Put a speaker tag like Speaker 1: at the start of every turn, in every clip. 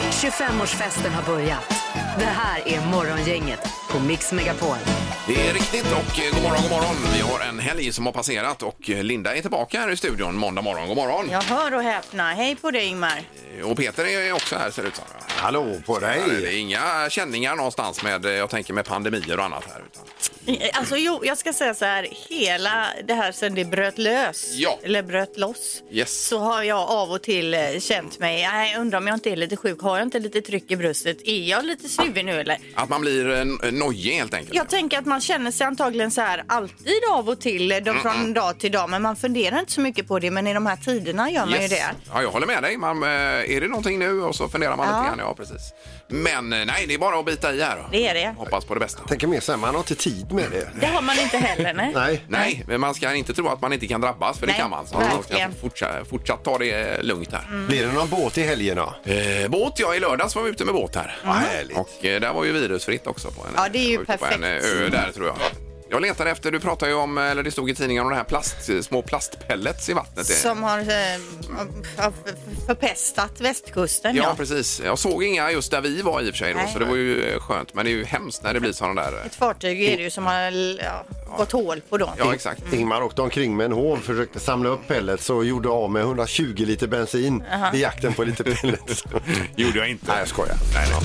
Speaker 1: 25-årsfesten har börjat. Det här är Morgongänget på Mix Megapol.
Speaker 2: Det är riktigt och eh, god morgon, god morgon. Vi har en helg som har passerat och eh, Linda är tillbaka här i studion måndag morgon. God morgon. Eh,
Speaker 3: Jag hör och häpna. Hej på dig Ingmar.
Speaker 2: Och Peter är också här ser det ut som.
Speaker 4: Hallå på
Speaker 2: Det
Speaker 4: dig!
Speaker 2: är inga känningar någonstans med, eh, jag tänker med pandemier och annat här. Utan.
Speaker 3: Alltså jo, jag ska säga så här. Hela det här sen det bröt lös,
Speaker 2: Ja.
Speaker 3: eller bröt loss,
Speaker 2: Yes.
Speaker 3: så har jag av och till eh, känt mig, nej undrar om jag inte är lite sjuk, har jag inte lite tryck i bröstet, är jag lite suvig nu eller?
Speaker 2: Att man blir en en nojig helt enkelt.
Speaker 3: Jag tänker att man känner sig antagligen så här alltid av och till, eh, då, från dag till dag, men man funderar inte så mycket på det, men i de här tiderna gör man ju
Speaker 2: Yes.
Speaker 3: det.
Speaker 2: Ja, jag håller med dig. Man, eh, är det någonting nu? Och så funderar man
Speaker 3: Ja.
Speaker 2: lite grann. Ja, precis. Men eh, nej, det är bara att bita i här.
Speaker 3: Det är det.
Speaker 2: Hoppas på det bästa.
Speaker 4: Tänker mer så här, man har inte tid med det.
Speaker 3: Det har man inte heller, nej.
Speaker 4: Nej.
Speaker 2: Nej, men man ska inte tro att man inte kan drabbas, för det
Speaker 3: Nej,
Speaker 2: kan man. Så man ska
Speaker 3: verkligen.
Speaker 2: fortsatt, fortsatt ta det eh, lugnt här.
Speaker 4: Blir det någon båt i helgen då?
Speaker 2: Eh, båt, ja. I lördags var vi ute med båt här.
Speaker 4: Vad härligt.
Speaker 2: Och eh, där var ju virusfritt också. På en,
Speaker 3: Ja, det är ju
Speaker 2: jag var ute På en
Speaker 3: perfekt. Mm.
Speaker 2: eh, ö där tror jag. Jag letar efter, du pratade ju om, eller det stod i tidningen om det här plast, små plastpellets i vattnet.
Speaker 3: Som har eh, har förpestat västkusten.
Speaker 2: Ja, precis. Jag såg inga just där vi var i och för sig då,
Speaker 3: Nej.
Speaker 2: så det var ju eh, skönt. Men det är ju hemskt när det blir sådana där... eh,
Speaker 3: Ett fartyg är det ju som har ja, gått hål på då.
Speaker 2: Ja, exakt.
Speaker 4: Ingmar åkte omkring med en hov, försökte samla upp pellets och gjorde av med 120 liter bensin i jakten på lite pellets.
Speaker 2: Gjorde jag inte.
Speaker 4: Nej, jag skojar.
Speaker 2: Nej, nej.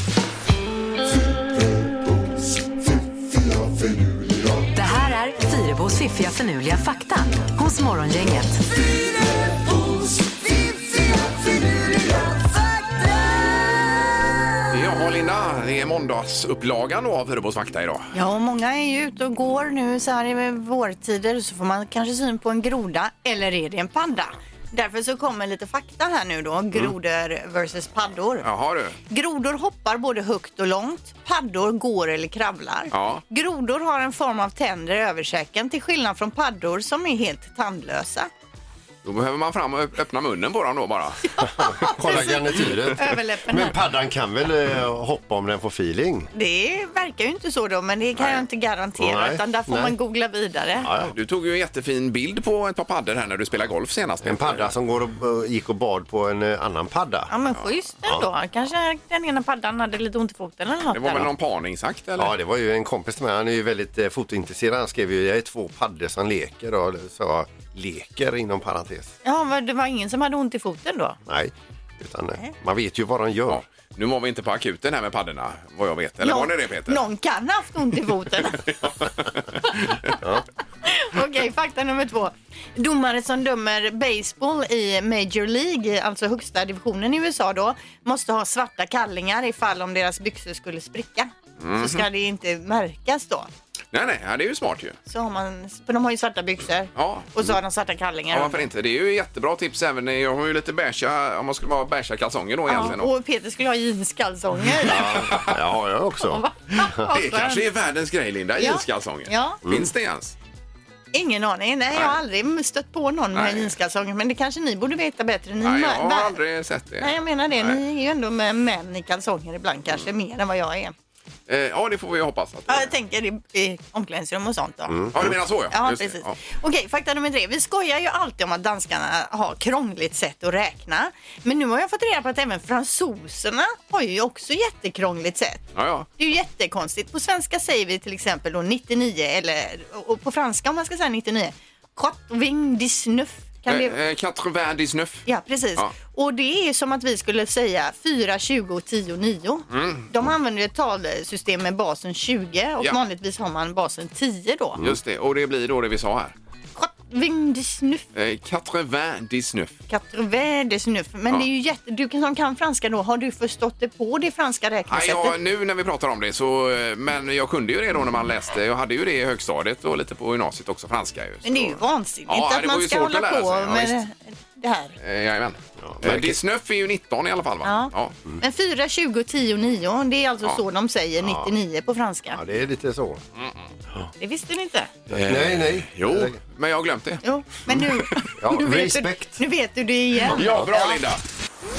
Speaker 1: Det här är Fyrebos fiffiga förnuliga fakta hos Morgongänget.
Speaker 2: Ja, Linda, det är måndagsupplagan då av Fyrebos fakta idag.
Speaker 3: Ja, och många är ju ute och går nu så här i vårtider så får man kanske syn på en groda eller är det en padda? Därför så kommer lite fakta här nu då, grodor versus paddor.
Speaker 2: Jaha du.
Speaker 3: Grodor hoppar både högt och långt. Paddor går eller kravlar.
Speaker 2: Ja.
Speaker 3: Grodor har en form av tänder i översäcken till skillnad från paddor som är helt tandlösa.
Speaker 2: Då behöver man fram och öpp- öppna munnen på dem då bara.
Speaker 4: Kolla
Speaker 3: Precis.
Speaker 4: garnityret.
Speaker 3: Överläppen
Speaker 4: Men
Speaker 3: här.
Speaker 4: paddan kan väl eh, hoppa om den får feeling?
Speaker 3: Det verkar ju inte så då, men det kan
Speaker 2: Nej.
Speaker 3: jag inte garantera.
Speaker 4: Nej,
Speaker 3: Utan där får
Speaker 4: nej.
Speaker 3: man googla vidare.
Speaker 4: Ja, ja.
Speaker 2: Du tog ju en jättefin bild på ett par paddor här när du spelade golf senast.
Speaker 4: En padda som går och, och gick och bad på en eh, annan padda.
Speaker 3: Ja, men schysst ändå. Kanske den ena paddan hade lite ont i foten eller något.
Speaker 2: Det var
Speaker 3: där
Speaker 2: väl
Speaker 3: då.
Speaker 2: någon parningsakt eller?
Speaker 4: Ja, det var ju en kompis till mig. Han är ju väldigt eh, fotointresserad. Han skrev ju jag är två paddor som leker och sa leker inom parentes.
Speaker 3: Ja, men det var ingen som hade ont i foten då?
Speaker 4: Nej, utan eh, man vet ju vad de gör.
Speaker 2: Ja. Nu var vi inte på akuten här med paddorna, vad jag vet. Eller var det det Peter?
Speaker 3: Någon kan ha haft ont i foten. Okej, fakta nummer två. Domare som dömer baseball i Major League, alltså högsta divisionen i USA då, måste ha svarta kallingar ifall om deras byxor skulle spricka.
Speaker 2: Mhm.
Speaker 3: Så ska det inte märkas då.
Speaker 2: Nej, nej, ja, det är ju smart ju.
Speaker 3: Så har man, för de har ju svarta byxor
Speaker 2: Ja.
Speaker 3: och så har de svarta kallingar.
Speaker 2: Ja, varför inte? Det är ju jättebra tips även. Jag har ju lite beiga, om man skulle vara beiga kalsonger då
Speaker 3: Ja,
Speaker 2: egentligen. då.
Speaker 3: och Peter skulle ha jeanskalsonger.
Speaker 4: Ja, har jag också.
Speaker 3: Va?
Speaker 2: Det kanske är världens grej Linda,
Speaker 3: Ja.
Speaker 2: jeanskalsonger.
Speaker 3: Ja. Mm.
Speaker 2: Finns det ens?
Speaker 3: Ingen aning. Nej, jag har aldrig stött på någon med
Speaker 2: Nej.
Speaker 3: jeanskalsonger. Men det kanske ni borde veta bättre. Ni
Speaker 2: Nej, jag
Speaker 3: mö-
Speaker 2: har
Speaker 3: vär-
Speaker 2: aldrig sett det.
Speaker 3: Nej, jag menar det.
Speaker 2: Nej. Mm.
Speaker 3: Ni är ju ändå med män i kalsonger ibland kanske, mer än vad jag är.
Speaker 2: Eh, ja, det får vi ju hoppas att det
Speaker 3: Ja,
Speaker 2: är.
Speaker 3: jag tänker i, i omklädningsrum och sånt då.
Speaker 2: Ja, du menar så ja.
Speaker 3: Ja,
Speaker 2: Mm. Just det,
Speaker 3: precis.
Speaker 2: ja.
Speaker 3: Okej, fakta nummer tre. Vi skojar ju alltid om att danskarna har krångligt sätt att räkna. Men nu har jag fått reda på att även fransoserna har ju också jättekrångligt sätt.
Speaker 2: Ja, ja.
Speaker 3: Det är ju jättekonstigt. På svenska säger vi till exempel då 99 eller och på franska om man ska säga 99. Quatre-vingt dix-neuf. Kan
Speaker 2: Eh,
Speaker 3: det...
Speaker 2: eh, 80 dix-neuf.
Speaker 3: Ja, precis.
Speaker 2: Ja.
Speaker 3: Och det är som att vi skulle säga 4, 20 och 10, 9. De använder ju ett talsystem med basen 20 och
Speaker 2: Mm. Ja.
Speaker 3: vanligtvis har man basen 10 då.
Speaker 2: Just det, och det blir då det vi sa här.
Speaker 3: Quatre-vingt dix-neuf.
Speaker 2: Eh, 80 dix-neuf.
Speaker 3: Quatre-vingt dix-neuf. Men
Speaker 2: Ja.
Speaker 3: det är ju jätte... Du som kan franska då, har du förstått det på det franska
Speaker 2: Nej,
Speaker 3: räknesättet?
Speaker 2: jag, nu när vi pratar om det så, eh, men jag kunde ju det då när man läste. Jag hade ju det i högstadiet och lite på gymnasiet också, franska ju.
Speaker 3: Men det är ju
Speaker 2: Så-
Speaker 3: vansinnigt
Speaker 2: Ja,
Speaker 3: att
Speaker 2: det var
Speaker 3: man
Speaker 2: ju
Speaker 3: ska
Speaker 2: svårt att
Speaker 3: hålla
Speaker 2: lära
Speaker 3: på
Speaker 2: sig. Ja,
Speaker 3: med
Speaker 2: visst.
Speaker 3: det här.
Speaker 2: Eh, Jajamän. Ja, eh,
Speaker 4: verkligen.
Speaker 2: Disneuf är ju 19 i alla fall va?
Speaker 3: Ja. Men 4, 20, 10, 9, det är alltså
Speaker 2: Ja.
Speaker 3: så de säger 99 på franska.
Speaker 4: Ja, det är lite så.
Speaker 3: Det visste ni inte.
Speaker 4: Nej, nej.
Speaker 2: Eh, Jo, men jag har glömt det.
Speaker 3: Jo, men nu,
Speaker 4: Ja,
Speaker 3: nu, vet, du,
Speaker 4: respekt.
Speaker 3: nu vet du det igen.
Speaker 2: Ja, bra Linda!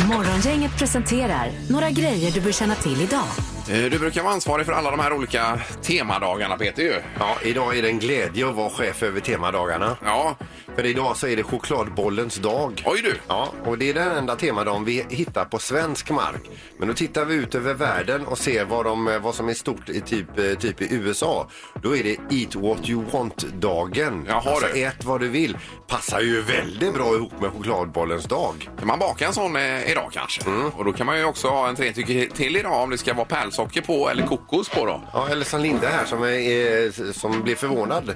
Speaker 1: Morgongänget presenterar några grejer du bör känna till idag.
Speaker 2: Eh, Du brukar vara ansvarig för alla de här olika temadagarna Peter ju.
Speaker 4: Ja, idag är det en glädje att vara chef över temadagarna.
Speaker 2: Ja,
Speaker 4: För idag så är det chokladbollens dag.
Speaker 2: Oj du!
Speaker 4: Ja, och det är den enda temadagen vi hittar på svensk mark. Men då tittar vi ut över världen och ser vad, de, eh, vad som är stort i typ, eh, typ i USA. Då är det Eat What You Want-dagen.
Speaker 2: Jaha,
Speaker 4: Alltså
Speaker 2: du.
Speaker 4: ät vad du vill. Passar ju väldigt bra ihop med chokladbollens dag.
Speaker 2: Kan man baka en sån eh, idag kanske?
Speaker 4: Mm.
Speaker 2: Och då kan man ju också ha en tre tycker till idag om det ska vara pärlsocker på eller kokos på då.
Speaker 4: Ja, eller som Linda här som, är, eh, som blev förvånad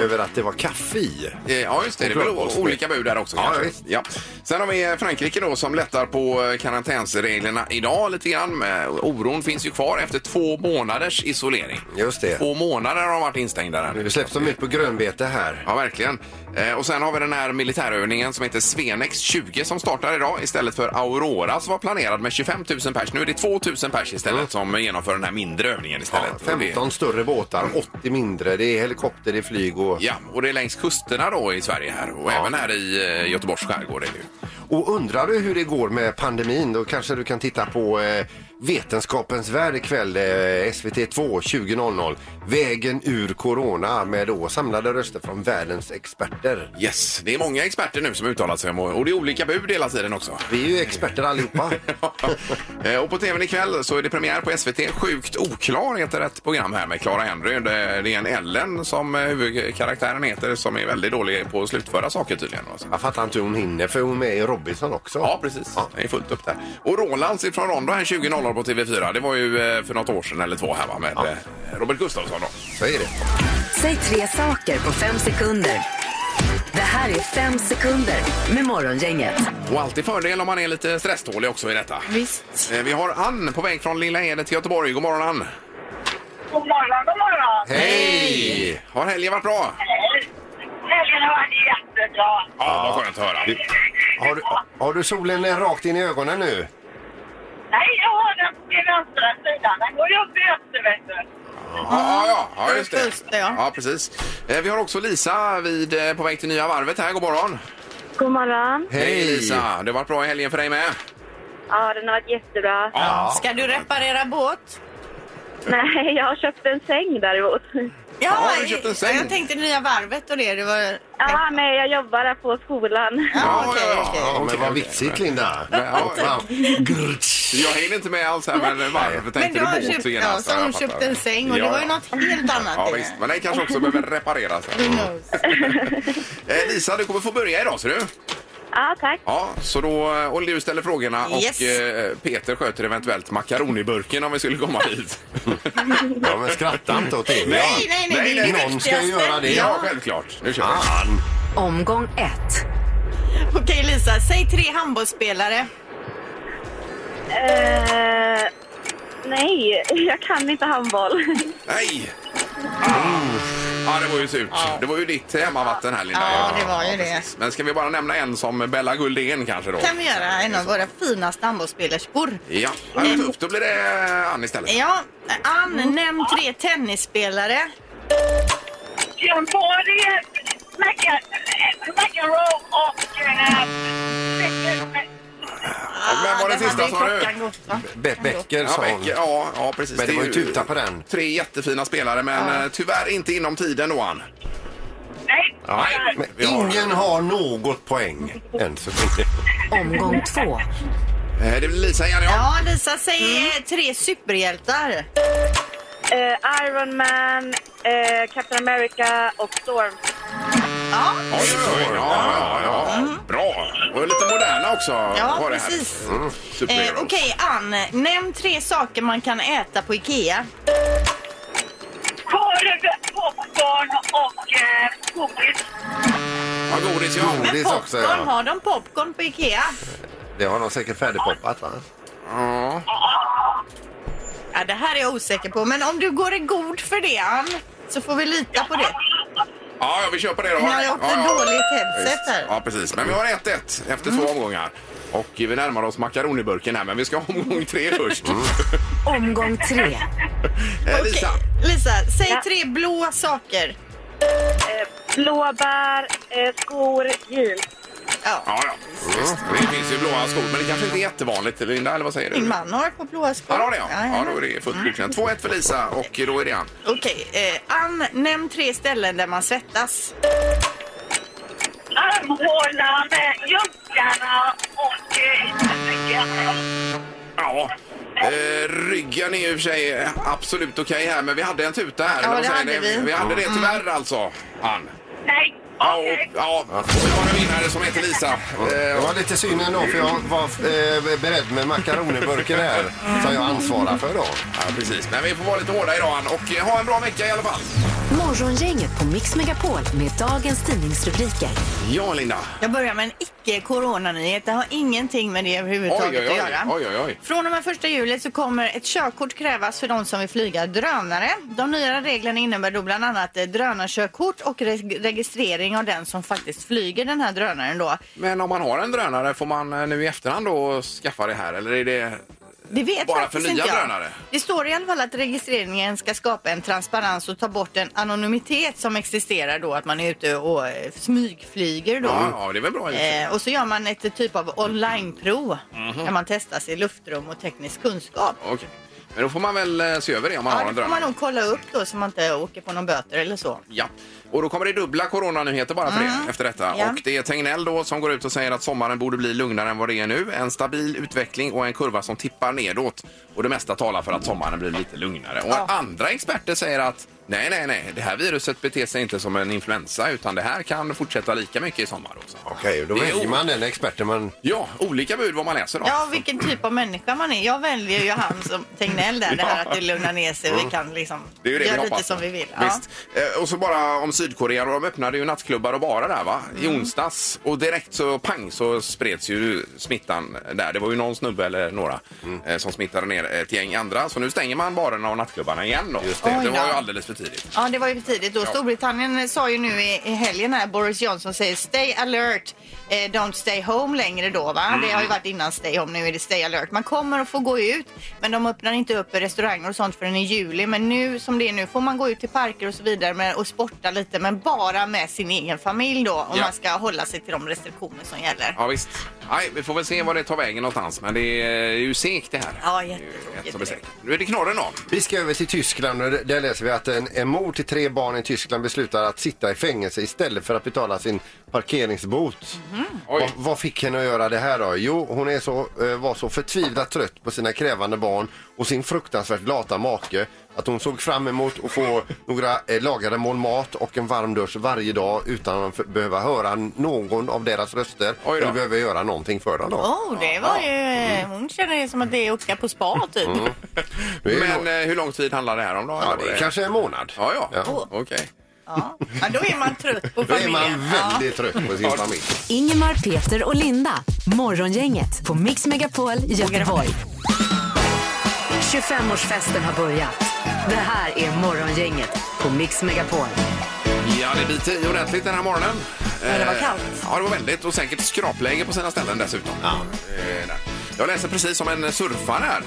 Speaker 4: över att det var kaffe i.
Speaker 2: Eh, Ja, just det. Det är väl o- olika bud där också.
Speaker 4: Ja,
Speaker 2: kanske.
Speaker 4: visst.
Speaker 2: Ja. Sen har vi eh, Frankrike då som lättar på eh, karantänsreglerna idag lite grann. Eh, Oron finns ju kvar efter två månaders isolering.
Speaker 4: Just det.
Speaker 2: Två månader har de varit instängda där.
Speaker 4: Nu släpps de ut på grönbete här.
Speaker 2: Ja, verkligen. Eh, och sen har vi den här militärövningen som heter Svenex 20 som startar idag istället för Aurora som var planerad med 25 000 pers. Nu är det 2 000 pers istället som genomför den här mindre övningen istället.
Speaker 4: Ja,
Speaker 2: Och det-
Speaker 4: 15 större båtar, 80 mindre. Det är helikopter, det är flyg och...
Speaker 2: Ja, och det är längs kusterna då i Sverige här och även här i eh, Göteborgs skärgård. Är det ju.
Speaker 4: Och undrar du hur det går med pandemin då kanske du kan titta på eh, Vetenskapens värld ikväll eh, SVT2 20.00 Vägen ur corona med då samlade röster från världens experter.
Speaker 2: Yes, det är många experter nu som uttalar sig om och det är olika bud hela tiden också.
Speaker 4: Vi är ju experter allihopa.
Speaker 2: Eh, och på tvn ikväll så är det premiär på SVT. Sjukt oklar heter ett program här med Clara Henry. Det det är en Ellen som eh, huvudkaraktären heter som är väldigt dålig på att slutföra saker tydligen. Alltså.
Speaker 4: Jag fattar inte hur hon hinner för hon är med i Robinson också.
Speaker 2: Ja, precis.
Speaker 4: Ja.
Speaker 2: Det är fullt upp där. Och Rolands ifrån Rondo här 20.00 på TV4. Det var ju eh, för något år sedan eller två här va, med eh, Robert Gustafsson då.
Speaker 4: Så är det.
Speaker 1: Säg tre saker på fem sekunder. Det här är fem sekunder med Morgongänget.
Speaker 2: Och alltid fördel om man är lite stresstålig också i detta.
Speaker 3: Visst.
Speaker 2: Eh, Vi har Ann på väg från Lilla Edet till Göteborg. God morgon Ann!
Speaker 5: God morgon, god morgon!
Speaker 4: Hej!
Speaker 2: Har helgen varit bra?
Speaker 5: Helgen har varit jättebra.
Speaker 2: Ja, vad skönt att höra.
Speaker 4: Har du, har du solen rakt in i ögonen nu?
Speaker 5: Nej, jag har den på min vänstra sida. Den går ju upp i öster, vet du.
Speaker 2: Ja, ja, ja, just det.
Speaker 3: Just det, ja.
Speaker 2: precis. Eh, Vi har också Lisa vid, eh, på väg till Nya Varvet här. God morgon!
Speaker 6: God morgon.
Speaker 2: Lisa! Det har varit bra i helgen för dig med.
Speaker 6: Ja, den har varit jättebra.
Speaker 4: Ja.
Speaker 3: Ska du reparera båt?
Speaker 6: Nej, jag har köpt en säng däremot.
Speaker 3: Ja,
Speaker 2: har du köpt en säng?
Speaker 3: Jag tänkte nya varvet och det. det var...
Speaker 6: Ja, nej, jag jobbar här på skolan.
Speaker 3: Ja, okej,
Speaker 2: ja, ja.
Speaker 3: okej.
Speaker 4: Ja, men
Speaker 2: Okej,
Speaker 4: vad
Speaker 2: okej.
Speaker 4: vitsigt Linda.
Speaker 2: Ja, ja.
Speaker 4: Grrts.
Speaker 2: Jag hänger inte med alls här, men varför
Speaker 3: Men
Speaker 2: tänkte
Speaker 3: du
Speaker 2: du
Speaker 3: har
Speaker 2: båt
Speaker 3: köpt, ja,
Speaker 2: genast?
Speaker 3: så hon
Speaker 2: jag fattar.
Speaker 3: köpte en säng och
Speaker 2: Ja,
Speaker 3: det var ju
Speaker 2: ja.
Speaker 3: något Mm. helt annat.
Speaker 2: Ja,
Speaker 3: i det.
Speaker 2: visst. Men den kanske också behöver repareras.
Speaker 3: Who knows?
Speaker 2: Eh, Lisa, du kommer få börja idag, ser du.
Speaker 6: Ja, tack.
Speaker 2: Ja, så då, och du ställer frågorna
Speaker 3: Yes.
Speaker 2: och eh, Peter sköter eventuellt makaroniburken om vi skulle komma dit.
Speaker 4: Ja, men skratta inte åt det.
Speaker 3: Nej, nej, nej,
Speaker 2: Nej,
Speaker 3: det är det
Speaker 4: Någon ska
Speaker 3: viktigaste.
Speaker 4: ju göra det.
Speaker 2: Ja, självklart. Nu
Speaker 3: Ah.
Speaker 2: kör vi.
Speaker 4: Fan.
Speaker 1: Omgång ett.
Speaker 3: Okej Lisa, säg tre handbollsspelare.
Speaker 6: Eh, nej, jag kan inte handboll.
Speaker 2: Nej! Ah. Ja, det var ju surt. Det var ju ditt hemmavatten här, Linda.
Speaker 3: Ja, Ah, det var ju det.
Speaker 2: Men ska vi bara nämna en som Bella Guldén kanske då?
Speaker 3: Kan vi göra en av våra finaste handbollsspelerskor.
Speaker 2: Ja, ja det var tufft. Då blir det Ann istället.
Speaker 3: Ja, Ann, nämn tre tennisspelare.
Speaker 5: Jim Fordy, McEnroe och... eh,
Speaker 2: men var det
Speaker 3: Ah, där
Speaker 2: sista
Speaker 3: hade ju
Speaker 2: sa du?
Speaker 3: klockan gått, va?
Speaker 4: Be- Becker
Speaker 2: Ja,
Speaker 4: sa hon.
Speaker 2: Becker, ja, ja, precis.
Speaker 4: Men det
Speaker 2: är
Speaker 4: var ju tuta på den.
Speaker 2: Tre jättefina spelare, men eh, tyvärr inte inom tiden då, Ann.
Speaker 5: Nej,
Speaker 2: Nej,
Speaker 4: Men
Speaker 2: vi har-
Speaker 4: ingen har något poäng än så länge.
Speaker 1: Omgång två.
Speaker 2: Eh, Det blir Lisa igen, ja.
Speaker 3: Ja, Lisa, säg eh, tre superhjältar.
Speaker 6: Eh, Iron Man, eh, Captain America och Storm.
Speaker 3: Ja,
Speaker 2: Oj, oj, oj. Ja, ja, ja. Bra! Och lite moderna också.
Speaker 3: Mm. ja
Speaker 2: var det här.
Speaker 3: precis.
Speaker 2: Mm.
Speaker 3: Eh,
Speaker 2: Superheroes.
Speaker 3: Okej, Ann, nämn tre saker man kan äta på Ikea.
Speaker 5: korv, popcorn och eh, godis.
Speaker 2: Ja, godis, ja.
Speaker 4: Men- Det är
Speaker 3: Men
Speaker 4: så
Speaker 3: popcorn,
Speaker 4: också, ja.
Speaker 3: har de popcorn på Ikea?
Speaker 4: Det har de säkert färdigpoppat va?
Speaker 2: Ja.
Speaker 3: Ja, det här är jag osäker på, men om du går i god för det, Ann, så får vi lita på det.
Speaker 2: Ja, ja, vi köper det då.
Speaker 3: Nu har jag
Speaker 2: ja,
Speaker 3: haft ett dåligt headset här. Mm.
Speaker 2: Ja, precis. Men vi har 1-1 efter två omgångar. Och vi närmar oss makaroniburken här, men vi ska ha omgång tre först.
Speaker 3: Mm.
Speaker 1: Omgång tre.
Speaker 2: Eh,
Speaker 3: Okej,
Speaker 2: Lisa,
Speaker 3: Lisa, säg
Speaker 6: Ja.
Speaker 3: tre blåa saker.
Speaker 6: Eh, blåbär, eh, skor, jeans.
Speaker 3: Ja.
Speaker 2: Ja, ja. Visst. Det finns ju blåa skor, men det kanske inte är jättevanligt. Linda, eller vad säger du?
Speaker 3: Min man har ett par blåa skor.
Speaker 2: Ja, det har det, ja. ja,
Speaker 3: ja.
Speaker 2: då är det fullt godkänt. 2-1 för Lisa och då är det han.
Speaker 3: Okej, eh, Ann, nämn tre ställen där man svettas.
Speaker 5: samordna med juggarna och eh, juggarna.
Speaker 2: Ja. Eh, ryggen är ju i och för sig eh, absolut okej här, men vi hade en tuta här.
Speaker 3: Ja,
Speaker 2: eller vad
Speaker 3: det
Speaker 2: säger
Speaker 3: hade
Speaker 2: ni?
Speaker 3: vi.
Speaker 2: Vi hade det tyvärr alltså, Ann.
Speaker 5: Nej,
Speaker 2: Ja,
Speaker 5: okej.
Speaker 2: och, ja. och vi har en vinnare som heter Lisa.
Speaker 4: Det var lite synd ändå för jag var eh, beredd med makaronerburken här som jag ansvarar för då.
Speaker 2: Ja, precis. Men vi får vara lite hårda idag, Ann. Och eh, ha en bra vecka i alla fall.
Speaker 1: Morgongänget på Mix Megapol med dagens tidningsrubriker.
Speaker 2: Ja, Linda.
Speaker 3: Jag börjar med en icke-coronanyhet. Det har ingenting med det
Speaker 2: Oj,
Speaker 3: överhuvudtaget
Speaker 2: oj,
Speaker 3: att
Speaker 2: oj. Oj,
Speaker 3: göra.
Speaker 2: oj, oj.
Speaker 3: Från och med 1 juli så kommer ett körkort krävas för de som vill flyga drönare. De nya reglerna innebär då bland annat eh, drönarkörkort och reg- registrering av den som faktiskt flyger den här drönaren då.
Speaker 2: Men om man har en drönare, får man eh, nu i efterhand då skaffa det här? Eller är det...
Speaker 3: Det vet
Speaker 2: Bara
Speaker 3: faktiskt
Speaker 2: för nya
Speaker 3: inte jag.
Speaker 2: drönare?
Speaker 3: Det står i alla fall att registreringen ska skapa en transparens och ta bort den anonymitet som existerar då att man är ute och eh, smygflyger då.
Speaker 2: Ja, ja, det Mhm. är väl bra. i och för sig.
Speaker 3: Eh, och så gör man ett typ av onlineprov där man testas i luftrum och teknisk kunskap.
Speaker 2: Okej. Men då får man väl eh, se över det om man har
Speaker 3: Eh. Ja,
Speaker 2: en
Speaker 3: det får man
Speaker 2: drönare.
Speaker 3: nog kolla upp då så man inte åker på någon böter eller så.
Speaker 2: Ja, och då kommer det dubbla coronanyheter bara för det efter detta.
Speaker 3: Mm. Ja.
Speaker 2: Och det är Tegnell då som går ut och säger att sommaren borde bli lugnare än vad det är nu. En stabil utveckling och en kurva som tippar nedåt. Och det mesta talar för att sommaren blir lite lugnare. Och
Speaker 3: Ja.
Speaker 2: andra experter säger att nej, nej, nej, det här viruset beter sig inte som en influensa utan det här kan fortsätta lika mycket i sommar också.
Speaker 4: Okej, då
Speaker 2: Det är
Speaker 4: väljer
Speaker 2: o-
Speaker 4: man den experten man...
Speaker 2: Ja, olika bud vad man läser då.
Speaker 3: Ja, vilken typ av människa man är. Jag väljer ju han som Tegnell där, det här att det lugnar ner sig och vi kan liksom
Speaker 2: Mm. Det är ju det vi
Speaker 3: göra lite
Speaker 2: hoppas
Speaker 3: som
Speaker 2: på.
Speaker 3: vi vill.
Speaker 2: Visst. Eh, Och så bara om Sydkorea. De öppnade ju nattklubbar och barer där va? i
Speaker 3: Mm.
Speaker 2: onsdags. Och direkt så pang så spreds ju smittan där. Det var ju någon snubbe eller några
Speaker 4: Mm.
Speaker 2: eh, som smittade ner ett gäng andra. Så nu stänger man barerna och nattklubbarna igen då.
Speaker 4: Just
Speaker 2: det.
Speaker 3: det. Oj då.
Speaker 2: var ju alldeles för tidigt.
Speaker 3: Ja, det var ju för tidigt då.
Speaker 2: Ja.
Speaker 3: Storbritannien sa ju nu i, i helgen här, Boris Johnson säger stay alert, eh, don't stay home längre då va?
Speaker 4: Mm.
Speaker 3: Det har ju varit innan stay home, nu är det stay alert. Man kommer att få gå ut, men de öppnar inte upp restauranger och sånt förrän i juli. Men nu som det är nu får man gå ut till parker och så vidare med, och sporta lite, men bara med sin egen familj då. Och
Speaker 2: Ja.
Speaker 3: man ska hålla sig till de restriktioner som gäller.
Speaker 2: Ja visst. Nej, vi får väl se var det tar vägen någonstans. Men det är ju segt det här.
Speaker 3: Ja,
Speaker 2: Det är ju
Speaker 3: jättetråkigt.
Speaker 2: rätt som är säkert. Nu är det knorren då.
Speaker 4: Vi ska över till Tyskland och där läser vi att en, en mor till tre barn i Tyskland beslutar att sitta i fängelse istället för att betala sin parkeringsbot. Va,
Speaker 2: Oj.
Speaker 4: vad fick henne att göra det här då? Jo, hon är så, eh, var så förtvivlat trött på sina krävande barn och sin fruktansvärt lata make att hon såg fram emot att få några eh, lagade mål mat och en varm dusch varje dag utan att f- behöva höra någon av deras röster
Speaker 2: Oj då.
Speaker 4: eller behöva göra någongonting för dem. Då.
Speaker 3: Oh, det var ju... Hon känner det som att det är att åka på spa typ.
Speaker 4: Mm. Nu är det
Speaker 2: Men
Speaker 4: nog-
Speaker 2: eh, hur lång tid handlar det här om då?
Speaker 4: ja, det är kanske en månad.
Speaker 2: Ja, ja.
Speaker 4: Ja.
Speaker 2: Okej.
Speaker 3: Ja. ja, då är man trött på
Speaker 4: Då är
Speaker 3: familjen.
Speaker 4: man
Speaker 3: Ja.
Speaker 4: väldigt trött på sin familj.
Speaker 1: Ingemar, Peter och Linda. Morgongänget på Mix Megapol Göteborg. 25-årsfesten har börjat. Det här är Morgongänget på Mix Megapol.
Speaker 2: Ja, det biter i ordentligt den här morgonen.
Speaker 3: Ja, det var
Speaker 2: Eh,
Speaker 3: kallt.
Speaker 2: Ja, det var väldigt och säkert skrapläge på sina ställen dessutom. Eh, där. Jag läser precis om en surfare här.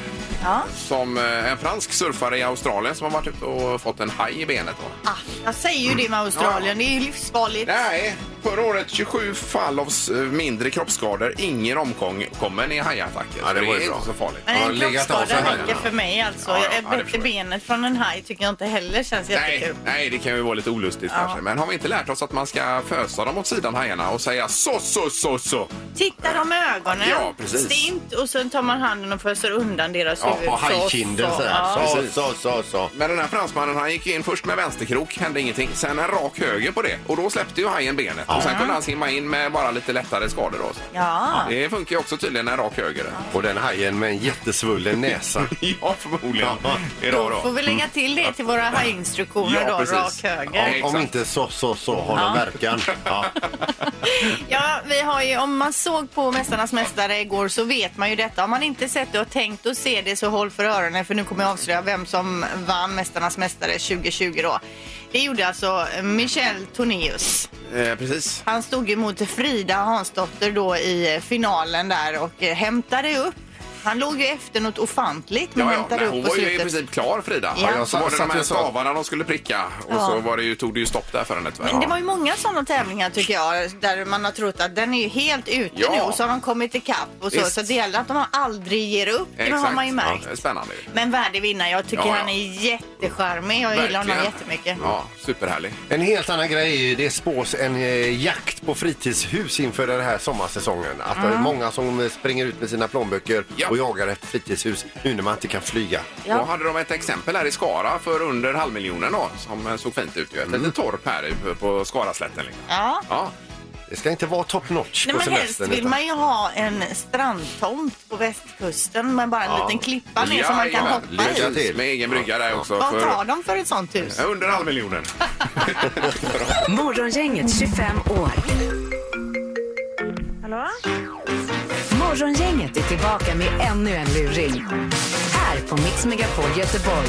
Speaker 3: Ja.
Speaker 2: Som eh, en fransk surfare i Australien som har varit ute och fått en haj i benet. Då.
Speaker 3: Ah, jag säger ju det med Australien, det är ju livsfarligt.
Speaker 2: Nej, förra året 27 fall av s- eh, mindre kroppsskador. Ingen omkommen i hajattacker.
Speaker 4: Ja, det
Speaker 2: Så
Speaker 4: var ju
Speaker 2: är
Speaker 4: bra.
Speaker 2: inte så farligt.
Speaker 3: Men
Speaker 4: Har
Speaker 3: en
Speaker 4: legat av
Speaker 3: kroppsskada
Speaker 4: för hajen,
Speaker 3: räcker
Speaker 4: ja.
Speaker 3: för mig alltså.
Speaker 2: Ja, ja, ja,
Speaker 3: Ett
Speaker 2: det
Speaker 3: brott i
Speaker 2: förstår jag.
Speaker 3: benet från en haj tycker jag inte heller känns
Speaker 2: Nej,
Speaker 3: jättekul.
Speaker 2: nej, det kan ju vara lite olustigt
Speaker 3: Ja.
Speaker 2: kanske. Men har vi inte lärt oss att man ska fösa dem åt sidan hajarna och säga så, så, så, så?
Speaker 3: Titta dem med ögonen,
Speaker 2: Ja, precis.
Speaker 3: stint och sen tar man handen och föser undan deras
Speaker 4: Ja,
Speaker 3: huvud.
Speaker 4: på
Speaker 3: Så,
Speaker 4: hajkinden
Speaker 3: så,
Speaker 4: så
Speaker 3: ja.
Speaker 4: här. Så, så, så, så.
Speaker 2: Men den här fransmannen han gick in först med vänsterkrok, hände ingenting. Sen en rak höger på det och då släppte ju hajen benet. Och sen kunde han simma in med bara lite lättare skador då.
Speaker 3: Ja.
Speaker 2: Det funkar ju också tydligen en rak höger.
Speaker 4: Och den hajen med en jättesvullen näsa.
Speaker 2: Ja, förmodligen.
Speaker 4: Ja.
Speaker 2: Idag
Speaker 3: Får
Speaker 2: då.
Speaker 3: vi lägga till det till våra hajinstruktioner
Speaker 2: Ja,
Speaker 3: då,
Speaker 2: precis.
Speaker 3: rak höger.
Speaker 2: Ja.
Speaker 4: Om inte så, så, så har den verkan. Ja.
Speaker 3: Ja, vi har ju, om man såg på Mästarnas Mästare igår så vet man ju detta. Om man inte sett det och tänkt och se det så håll för öronen för nu kommer jag avslöja vem som vann Mästarnas Mästare 2020 då. Det gjorde alltså Michel Tornéus.
Speaker 2: Eh, precis.
Speaker 3: Han stod ju mot Frida Hansdotter då i finalen där och eh, hämtade upp Han låg ju efter något ofantligt men
Speaker 2: Ja, ja,
Speaker 3: hämtade
Speaker 2: nej,
Speaker 3: upp
Speaker 2: hon
Speaker 3: på
Speaker 2: var ju i
Speaker 3: slutet.
Speaker 2: princip klar Frida.
Speaker 3: Ja.
Speaker 2: Ja, så var det
Speaker 4: Satt
Speaker 2: de här
Speaker 4: jag så-
Speaker 2: stavarna de skulle pricka och
Speaker 3: Ja.
Speaker 2: så var det ju, tog det ju stopp där för henne tyvärr.
Speaker 3: Men det var ju många sådana tävlingar tycker jag där man har trott att den är ju helt ute
Speaker 2: Ja.
Speaker 3: nu och så har de kommit ikapp och så.
Speaker 2: Visst.
Speaker 3: Så det gäller att de aldrig ger upp. Det har
Speaker 2: Exakt.
Speaker 3: man ju märkt.
Speaker 2: Ja, spännande ju.
Speaker 3: Men värdig vinnare. Jag tycker
Speaker 2: Ja, ja.
Speaker 3: han är jättecharmig. Jag gillar honom
Speaker 2: Verkligen.
Speaker 3: jättemycket.
Speaker 2: Ja, superhärlig.
Speaker 4: En helt annan grej är ju det spås en eh, jakt på fritidshus inför den här sommarsäsongen. Att det är många som eh, springer ut med sina plånböcker
Speaker 2: Ja.
Speaker 4: och jagar efter fritidshus nu när man inte kan flyga.
Speaker 2: Då hade de ett exempel här i Skara för under halvmiljonen då, som eh, såg fint ut. ju.
Speaker 3: Mm.
Speaker 2: Ett litet torp här i- på Skaraslätten. Liksom.
Speaker 3: Ja.
Speaker 2: Ja,
Speaker 4: Det ska inte vara top notch
Speaker 3: Nej,
Speaker 4: på
Speaker 3: men helst
Speaker 4: semestern.
Speaker 3: vill
Speaker 4: utan-
Speaker 3: man ju ha en strandtomt på västkusten med bara en liten klippa ner som man kan
Speaker 2: Jajamän,
Speaker 3: hoppa
Speaker 2: lycka
Speaker 3: i.
Speaker 2: till. Med egen brygga där också.
Speaker 3: Vad tar
Speaker 2: För,
Speaker 3: de för ett sånt hus?
Speaker 2: Ja, under halvmiljonen.
Speaker 1: Morgongänget 25 år.
Speaker 6: Hallå?
Speaker 1: Morgongänget är tillbaka med ännu en luring. Här på Mix Megapol Göteborg.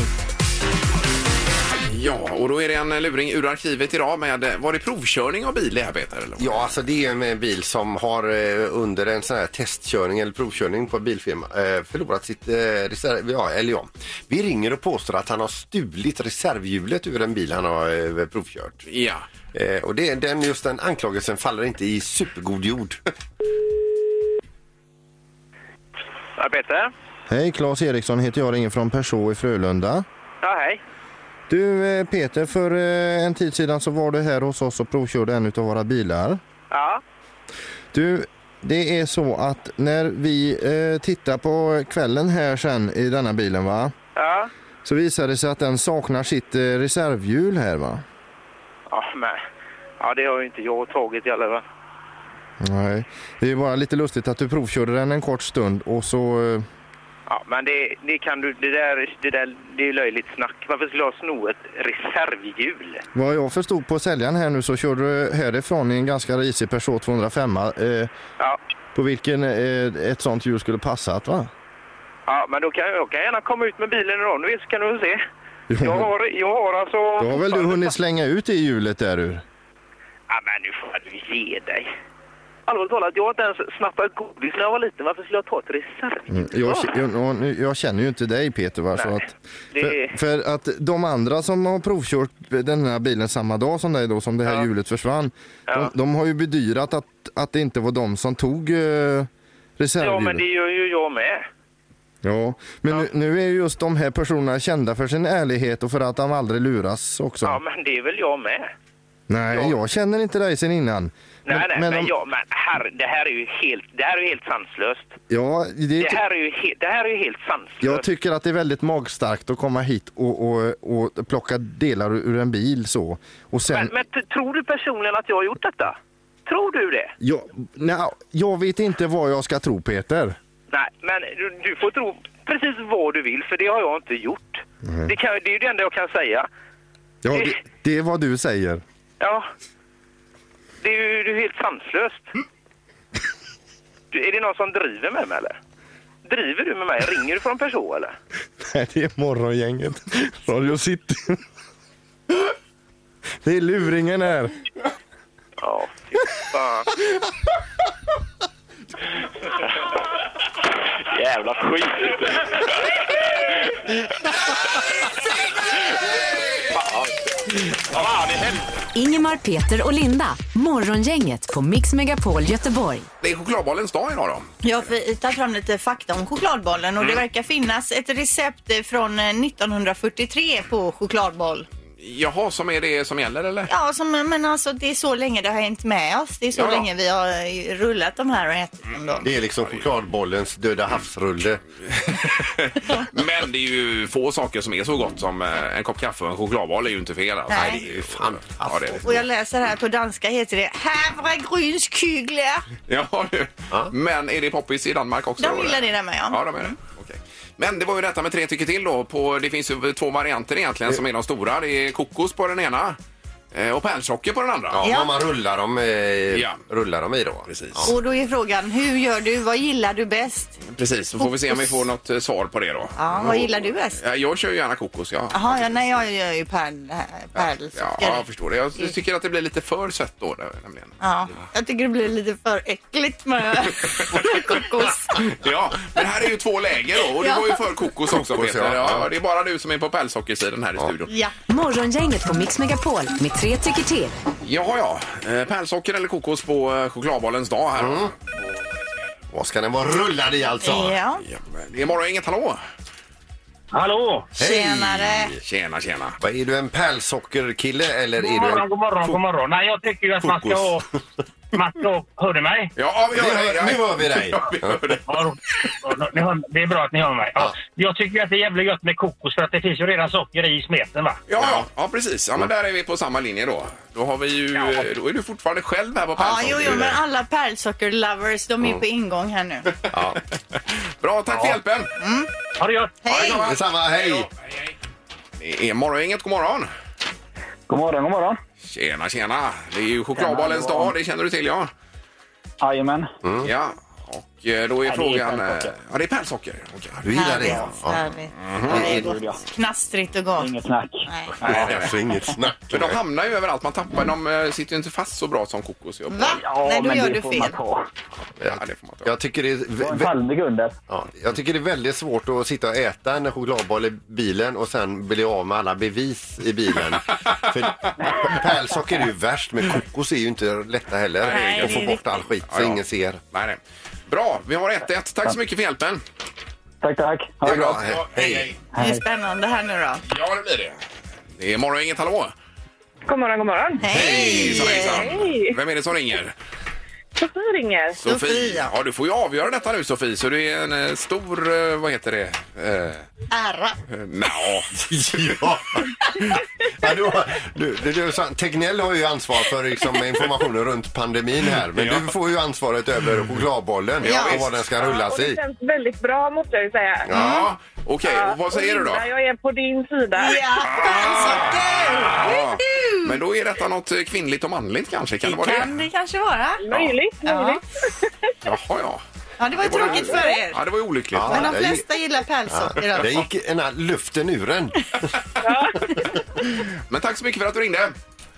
Speaker 2: Ja, och då är det en luring ur arkivet idag med, var det provkörning av bil det här Peter? Eller?
Speaker 4: Ja, alltså det är en bil som har eh, under en sån här testkörning eller provkörning på en bilfirma eh, förlorat sitt eh, reserv... Ja, eller ja. Vi ringer och påstår att han har stulit reservhjulet ur en bil han har eh, provkört.
Speaker 2: Ja.
Speaker 4: Eh, och det, den, just den anklagelsen faller inte i supergod jord.
Speaker 7: Ja, Peter?
Speaker 8: Hej, Claes Eriksson heter jag, ringer från Perså i Frölunda.
Speaker 7: Ja, hej.
Speaker 8: Du eh, Peter, för eh, en tid sedan så var du här hos oss och provkörde en av våra bilar.
Speaker 7: Ja,
Speaker 8: Du, det är så att när vi eh, tittar på kvällen här sen i denna bilen va,
Speaker 7: ja.
Speaker 8: så visar det sig att den saknar sitt eh, reservhjul här va?
Speaker 7: Ja, men... Ja, det har ju inte jag tagit i alla fall.
Speaker 8: Nej, det är bara lite lustigt att du provkörde den en kort stund och så... Eh,
Speaker 7: Ja, men det, det kan du... Det där, det där det är ju löjligt snack. Varför skulle jag sno ett reservhjul?
Speaker 8: vad jag förstod på säljaren här nu så körde du härifrån i en ganska risig Peugeot 205 eh,
Speaker 7: Ja,
Speaker 8: på vilken eh, ett sånt hjul skulle passat va?
Speaker 7: ja men då kan jag, jag kan gärna komma ut med bilen idag nu, så kan du se. Jag har, jag har alltså...
Speaker 8: Då har väl du hunnit slänga ut det hjulet där ur?
Speaker 7: Ja, men nu får du ge dig. Allvarligt talat, jag har inte ens snattat godis när jag var liten. Varför skulle jag ta ett reservhjul?
Speaker 8: Mm, Jag, jag, jag känner ju inte dig Peter va? Så
Speaker 7: Nej,
Speaker 8: att,
Speaker 7: det-
Speaker 8: för, för att de andra som har provkört den här bilen samma dag som dig då, som det här hjulet försvann.
Speaker 7: Ja.
Speaker 8: De, de har ju bedyrat att, att det inte var de som tog eh,
Speaker 7: Ja, men
Speaker 8: reservhjulet.
Speaker 7: det gör ju jag med.
Speaker 8: Ja, men Nu, nu är ju just de här personerna kända för sin ärlighet och för att de aldrig luras också.
Speaker 7: Ja, men det är väl jag med.
Speaker 8: Nej, jag känner inte dig sen innan.
Speaker 7: Nej, nej, men,
Speaker 8: om-
Speaker 7: ja, men här, det här är ju helt, det här är ju helt sanslöst.
Speaker 8: ja, det,
Speaker 7: Det här är ju, he, det här är ju helt sanslöst.
Speaker 8: Jag tycker att det är väldigt magstarkt att komma hit och, och, och plocka delar ur en bil så. Och sen,
Speaker 7: men, men t- tror du personligen att jag har gjort detta? Tror du det?
Speaker 8: Jag, nej, jag vet inte vad jag ska tro Peter.
Speaker 7: Nej, men du, du får tro precis vad du vill, för det har jag inte gjort. Det, kan, det är ju det enda jag kan säga.
Speaker 8: Ja, det, det är vad du säger.
Speaker 7: Ja. Det är ju det är ju helt sanslöst. Du, är det någon som driver med mig eller? Driver du med mig? Ringer du från person eller?
Speaker 8: Nej, det är morgongänget. Radio City. Det är luringen här.
Speaker 7: Ja, fy fan. Jävla skit!
Speaker 1: Ingemar, Peter och Linda. Morgongänget på Mix Megapol Göteborg.
Speaker 2: Det är chokladbollens dag idag då.
Speaker 3: Jag får ta fram lite fakta om chokladbollen och
Speaker 2: Mm.
Speaker 3: det verkar finnas ett recept eh, från eh, 1943 på chokladboll.
Speaker 2: Jaha, som är det som gäller eller?
Speaker 3: Ja, som, men alltså det är så länge det har hängt med oss. Det är så
Speaker 2: Ja. Mm.
Speaker 3: länge vi har eh, rullat de här och ätit dem då.
Speaker 4: Det är liksom chokladbollens döda havsrulle.
Speaker 2: Men det är ju få saker som är så gott som eh, en kopp kaffe och en chokladboll är ju inte fel. Alltså.
Speaker 3: Nej.
Speaker 2: det är ju fantastiskt. Ja, det är
Speaker 3: Och jag läser här på danska heter det havregrynskygler.
Speaker 2: det. Ja, det. Men är det poppis i Danmark också?
Speaker 3: De
Speaker 2: då,
Speaker 3: gillar
Speaker 2: eller?
Speaker 3: det där med
Speaker 2: Ja,
Speaker 3: ja.
Speaker 2: de är det. Okej. Men det var ju detta med tre tycker till då. På, det finns ju två varianter egentligen som är de stora. Det är kokos på den ena Eh, och pärlsocker på den andra.
Speaker 4: Ja,
Speaker 3: Ja.
Speaker 4: vad man rullar dem, eh,
Speaker 2: Ja.
Speaker 4: rullar dem i då.
Speaker 2: Precis.
Speaker 4: Ja.
Speaker 3: Och då är frågan, hur gör du? Vad gillar du bäst?
Speaker 2: Precis, så får vi se om vi får något eh, svar på det då.
Speaker 3: Ja, vad gillar du bäst?
Speaker 2: Ja, jag kör ju gärna kokos, ja.
Speaker 3: Jaha, ja, nej, jag gör ju pärl, pärlsocker.
Speaker 2: Ja, ja, jag förstår det. Jag tycker att det blir lite för sött då, där, nämligen.
Speaker 3: Ja, jag tycker det blir lite för äckligt med med kokos.
Speaker 2: Ja, men här är ju två läger då, och du
Speaker 3: Ja.
Speaker 2: var ju för kokos också
Speaker 4: Kokos,
Speaker 2: Peter.
Speaker 4: ja.
Speaker 2: Ja, det är bara du som är på pärlsockersidan här i studion.
Speaker 3: Ja.
Speaker 1: Morgongänget på Mix Megapol med tre tycker till.
Speaker 2: Ja, ja. Eh, Pärlsocker eller kokos på eh, chokladbollens dag här.
Speaker 4: Mm. Vad ska den vara rullad i alltså?
Speaker 3: ja.
Speaker 2: Ja, men det är morgon, inget hallå!
Speaker 7: Hallå!
Speaker 4: Hej!
Speaker 3: Tjenare.
Speaker 2: Tjena, tjena!
Speaker 4: Vad, Är du en pärlsockerkille eller
Speaker 7: God
Speaker 4: är du
Speaker 7: morgon,
Speaker 4: en...
Speaker 7: god morgon, god morgon. Nej, jag tycker ju att man ska
Speaker 4: Kokos.
Speaker 7: ha... Man ska ha... Hör ni mig?
Speaker 2: Ja, ja, vi
Speaker 4: Nu
Speaker 2: hör
Speaker 4: hör-
Speaker 2: dig. ja.
Speaker 4: nu hör vi dig.
Speaker 2: Ja, vi hör dig.
Speaker 7: Ja, då- ni hör- Det är bra att ni hör mig. Ja. Jag tycker att det är jävligt gött med kokos för att det finns ju redan socker i smeten va?
Speaker 2: Ja, ja, ja, precis. Ja, men där är vi på samma linje då. Då, har vi ju,
Speaker 7: Ja.
Speaker 2: eh, då är du fortfarande själv här på
Speaker 3: Ja,
Speaker 2: pärlsocker.
Speaker 3: jo, jo, men alla pärlsocker-lovers, de är på ingång här nu.
Speaker 4: Ja.
Speaker 2: Bra, tack för hjälpen!
Speaker 7: Har du gött?
Speaker 3: Hej!
Speaker 2: Ja,
Speaker 4: Detsamma, hej!
Speaker 2: Det är morgon, inget god morgon!
Speaker 7: God morgon, god morgon.
Speaker 2: Tjena, tjena! Det är ju chokladbollens
Speaker 7: Tjena, god
Speaker 2: dag, det känner du till ja.
Speaker 7: Jajamän.
Speaker 2: Ja, och eh, då är
Speaker 7: är
Speaker 2: frågan... eh,
Speaker 7: pärlsocker.
Speaker 2: Ja, det är pärlsocker. Okej.
Speaker 4: Du gillar det?
Speaker 3: Härligt,
Speaker 4: Ja.
Speaker 3: härligt. Ja, det är gott. Knastrigt och gott.
Speaker 7: Inget snack.
Speaker 3: Nej.
Speaker 2: Nej,
Speaker 4: Det är
Speaker 2: nej,
Speaker 4: alltså
Speaker 2: nej.
Speaker 4: inget snack.
Speaker 2: Men de hamnar ju överallt. Man tappar, de eh, sitter ju inte fast så bra som kokos. gör.
Speaker 3: Va? Nej, då gör du fel.
Speaker 7: ta.
Speaker 2: Ja, det får man ta.
Speaker 4: Jag tycker det är... vä- vä-
Speaker 7: palmig under.
Speaker 4: Ja, jag tycker det är väldigt svårt att sitta och äta en chokladboll i bilen och sen bli av med alla bevis i bilen. För pärlsocker är ju värst, men kokos är ju inte lätta heller.
Speaker 3: Nej,
Speaker 4: att
Speaker 3: det
Speaker 4: få
Speaker 3: är
Speaker 4: bort all skit så
Speaker 2: Ja, ja.
Speaker 4: ingen ser.
Speaker 2: Nej, nej. Bra, vi har 1-1. Tack så mycket för hjälpen.
Speaker 7: Tack, tack.
Speaker 4: Det är bra. He- Hej.
Speaker 3: Det är spännande här nu då.
Speaker 2: Ja, det blir det. Det är morgon, inget hallå.
Speaker 6: God morgon, god morgon.
Speaker 2: Hejsan,
Speaker 6: Hej.
Speaker 2: hejsan. Vem är det som ringer?
Speaker 6: Sofie ringer.
Speaker 2: Sofia. Ja, du får ju avgöra detta nu Sofie, så det är en eh, stor, eh, vad heter det? Eh,
Speaker 3: Ära.
Speaker 2: Nja.
Speaker 4: Ja. Ja, du, har- du, du, du, sa- Tegnell har ju ansvar för liksom, informationen runt pandemin här, men
Speaker 2: Ja.
Speaker 4: du får ju ansvaret över chokladbollen
Speaker 2: Ja,
Speaker 4: och vad
Speaker 2: visst.
Speaker 4: den ska rullas
Speaker 6: och det
Speaker 4: i.
Speaker 6: känns väldigt bra måste jag ju säga.
Speaker 2: Ja, okej.
Speaker 6: Ja,
Speaker 2: Och vad säger
Speaker 6: och
Speaker 2: du då?
Speaker 6: Linda, Jag är på din sida.
Speaker 3: Ja, pärlsocker!
Speaker 2: Ja. Men då är detta något eh, kvinnligt och manligt kanske? Kan det vara
Speaker 3: Kan
Speaker 2: det?
Speaker 3: det kanske vara.
Speaker 6: Möjligt,
Speaker 3: Ja.
Speaker 6: möjligt.
Speaker 2: Jaha, ja.
Speaker 3: Ja, det var ju tråkigt för er.
Speaker 2: Ja, det var ju olyckligt.
Speaker 4: Ja.
Speaker 3: Men de
Speaker 4: det gick-
Speaker 3: flesta gillar pärlsocker
Speaker 4: Där
Speaker 3: alltså.
Speaker 4: gick en, luften ur en.
Speaker 2: Men tack så mycket för att du ringde.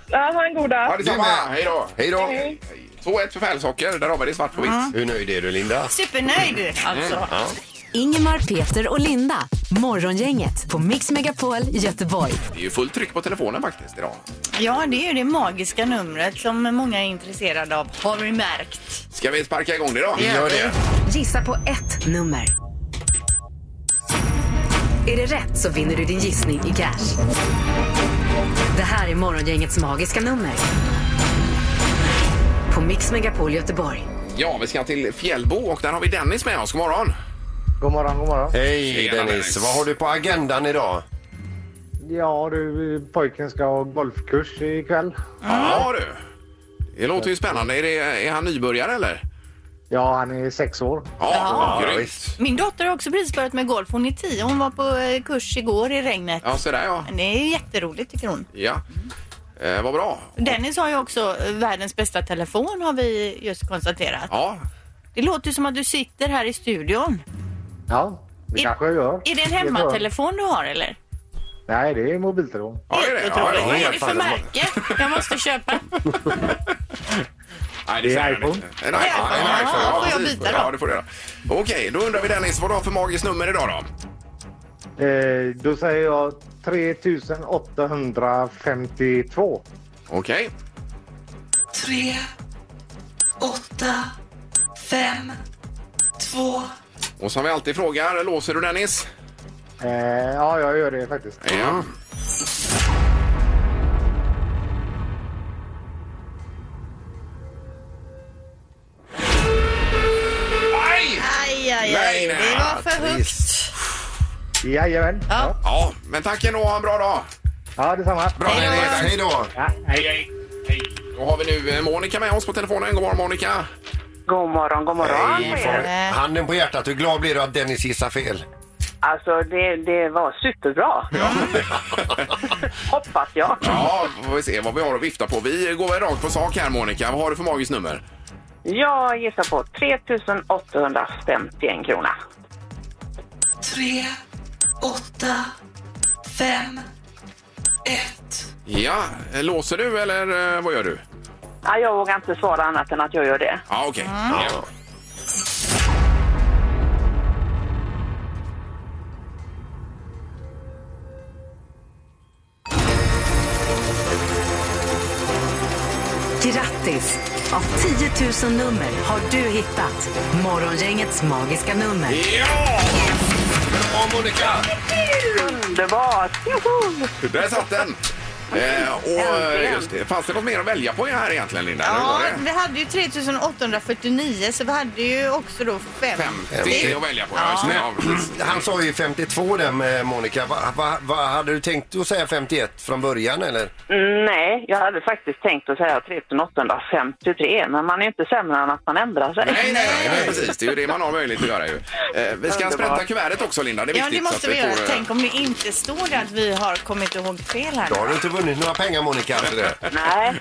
Speaker 6: Ja, ha en god dag.
Speaker 2: Ja, detsamma.
Speaker 4: Du med.
Speaker 2: Hej då.
Speaker 4: Hej då!
Speaker 2: 2-1 för pärlsocker. Där har vi det svart på vitt.
Speaker 3: Mm.
Speaker 4: Hur nöjd är du Linda?
Speaker 3: Supernöjd
Speaker 4: Mm.
Speaker 3: alltså.
Speaker 1: Ingemar, Peter och Linda. Morgongänget på Mix Megapol Göteborg.
Speaker 2: Det är ju fullt tryck på telefonen faktiskt idag.
Speaker 3: Ja, det är ju det magiska numret som många är intresserade av, har vi märkt.
Speaker 2: Ska vi sparka igång det då?
Speaker 3: Ja. Gör det.
Speaker 1: Gissa på ett nummer. Är det rätt så vinner du din gissning i cash. Det här är Morgongängets magiska nummer. På Mix Megapol Göteborg.
Speaker 2: Ja, vi ska till Fjällbo och där har vi Dennis med oss. God morgon.
Speaker 9: God morgon, god morgon.
Speaker 4: Hej
Speaker 2: Tjena, Dennis.
Speaker 4: Dennis, vad har du på agendan idag?
Speaker 9: Ja du, pojken ska ha golfkurs ikväll.
Speaker 2: Ja, du. Det låter ju spännande. Är, det, är han nybörjare eller?
Speaker 9: Ja, han är sex år.
Speaker 2: Ja,
Speaker 4: Ja,
Speaker 2: grymt.
Speaker 4: visst.
Speaker 3: Min dotter har också precis börjat med golf. Hon är tio. Hon var på eh, kurs igår i regnet.
Speaker 2: Ja, så där ja.
Speaker 3: Men Det är ju jätteroligt tycker hon.
Speaker 2: Ja, eh, vad bra.
Speaker 3: Dennis har ju också eh, världens bästa telefon har vi just konstaterat.
Speaker 2: Ja,
Speaker 3: Det låter ju som att du sitter här i studion.
Speaker 9: Ja, det
Speaker 3: Är-
Speaker 9: kanske jag gör.
Speaker 3: Är det en
Speaker 9: är bra.
Speaker 3: hemmatelefon du har eller?
Speaker 9: Nej, det är mobiltelefon.
Speaker 2: ja det är det.
Speaker 3: Helt
Speaker 2: Ja,
Speaker 3: otroligt.
Speaker 2: ja,
Speaker 3: Vad
Speaker 2: ja.
Speaker 3: är det för märke? Jag måste köpa.
Speaker 2: Nej,
Speaker 9: Det är
Speaker 2: säger han
Speaker 9: iPhone.
Speaker 2: inte. En iPhone.
Speaker 3: Ja,
Speaker 2: en iPhone.
Speaker 3: ja, får jag
Speaker 2: precis.
Speaker 3: byta då?
Speaker 2: Ja, det får du göra. Okej, då undrar vi Dennis vad du har för magiskt nummer idag då?
Speaker 9: Eh, då säger jag 3852.
Speaker 2: Okej.
Speaker 10: tre, åtta, fem, två.
Speaker 2: Och som vi alltid frågar, låser du Dennis?
Speaker 9: Eh, ja, jag gör det faktiskt.
Speaker 2: Ja. Nej!
Speaker 3: Aj, aj,
Speaker 2: Nej,
Speaker 3: aj.
Speaker 2: nej,
Speaker 3: Det var för högt.
Speaker 4: Visst.
Speaker 9: Jajamän.
Speaker 3: Ja.
Speaker 2: Ja, men tack ändå. Ha en bra dag.
Speaker 9: Ja, detsamma.
Speaker 4: Bra Dennis, hej då!
Speaker 9: Ja, hej.
Speaker 2: Då har vi nu eh, Monica med oss på telefonen. God morgon Monica!
Speaker 6: God morgon, god morgon.
Speaker 4: Handen på hjärtat, hur glad blir du att Dennis gissar fel?
Speaker 11: Alltså, det, det var superbra. Hoppas jag.
Speaker 2: Ja, får vi se vad vi har att vifta på. Vi går väl rakt på sak här Monica. Vad har du för magiskt nummer?
Speaker 11: Jag gissar på 3851 kronor.
Speaker 10: tre, åtta, fem, ett.
Speaker 2: Ja, eh, låser du eller eh, vad gör du?
Speaker 11: Ja, jag vågar inte svara annat än att jag gör det.
Speaker 2: Ja, okej. Ja.
Speaker 1: Grattis! Av 10 000 nummer har du hittat Morgongängets magiska nummer.
Speaker 2: Bra Monica!
Speaker 11: Underbart! Joho!
Speaker 2: Där satt den! Eh, och eh, just det. Fanns det något mer att välja på här egentligen Linda? Eller
Speaker 3: Ja,
Speaker 2: var det?
Speaker 3: vi hade ju 3849 så vi hade ju också då 50.
Speaker 2: Det är att välja på, ja, just det. Ja, precis.
Speaker 4: Han sa ju 52 där med Monica. Va, va, va, hade du tänkt att säga 51 från början eller?
Speaker 11: Nej, jag hade faktiskt tänkt att säga 3853, men man är ju inte sämre än att man ändrar sig.
Speaker 2: Nej, nej, nej, nej, precis. Det är ju det man har möjlighet att göra ju. Eh, vi ska sprätta kuvertet också Linda, det är
Speaker 3: Ja,
Speaker 2: viktigt.
Speaker 3: det
Speaker 2: så
Speaker 3: måste
Speaker 2: att
Speaker 3: vi göra.
Speaker 2: får, eh,
Speaker 3: Tänk om det inte står där att vi har kommit ihåg fel här.
Speaker 4: Då har du inte vunnit några pengar Monica. Alltså det.
Speaker 11: Nej.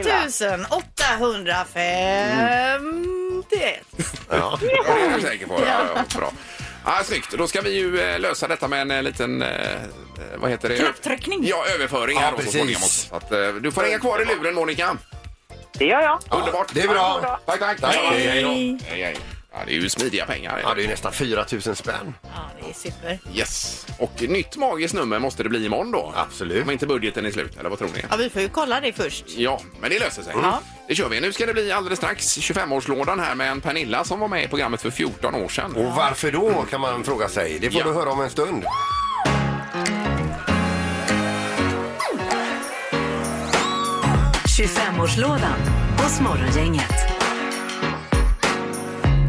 Speaker 3: 3851.
Speaker 4: Ja.
Speaker 2: Ja, det är jag säker på. Ja, ja, bra. Ah, snyggt. Då ska vi ju eh, lösa detta med en eh, liten... Eh, vad heter det?
Speaker 3: Knapptryckning.
Speaker 2: Ja, överföring här
Speaker 4: Ja,
Speaker 2: då, så
Speaker 4: precis.
Speaker 2: småningom också. Så att, eh, du får hänga kvar i luren, Monica.
Speaker 11: Det gör jag.
Speaker 2: Underbart.
Speaker 4: det är bra.
Speaker 2: Tack, tack.
Speaker 4: Tack.
Speaker 2: Hej, hej, då. hej, hej. Ja, det är ju smidiga pengar.
Speaker 4: Ja, det är ju nästan 4 000 spänn.
Speaker 3: Ja, det är super.
Speaker 2: Yes. Och nytt magiskt nummer måste det bli imorgon då. Absolut. Om inte budgeten är slut, eller vad tror ni?
Speaker 3: Ja, vi får ju kolla det först.
Speaker 2: Ja, men det löser sig.
Speaker 3: Ja.
Speaker 2: Det kör vi. Nu ska det bli alldeles strax 25-årslådan här med en Pernilla som var med i programmet för 14 år sedan.
Speaker 4: Och varför då kan man fråga sig. Det får
Speaker 2: Ja.
Speaker 4: du höra om en stund.
Speaker 1: Ja. 25-årslådan hos Morgongänget.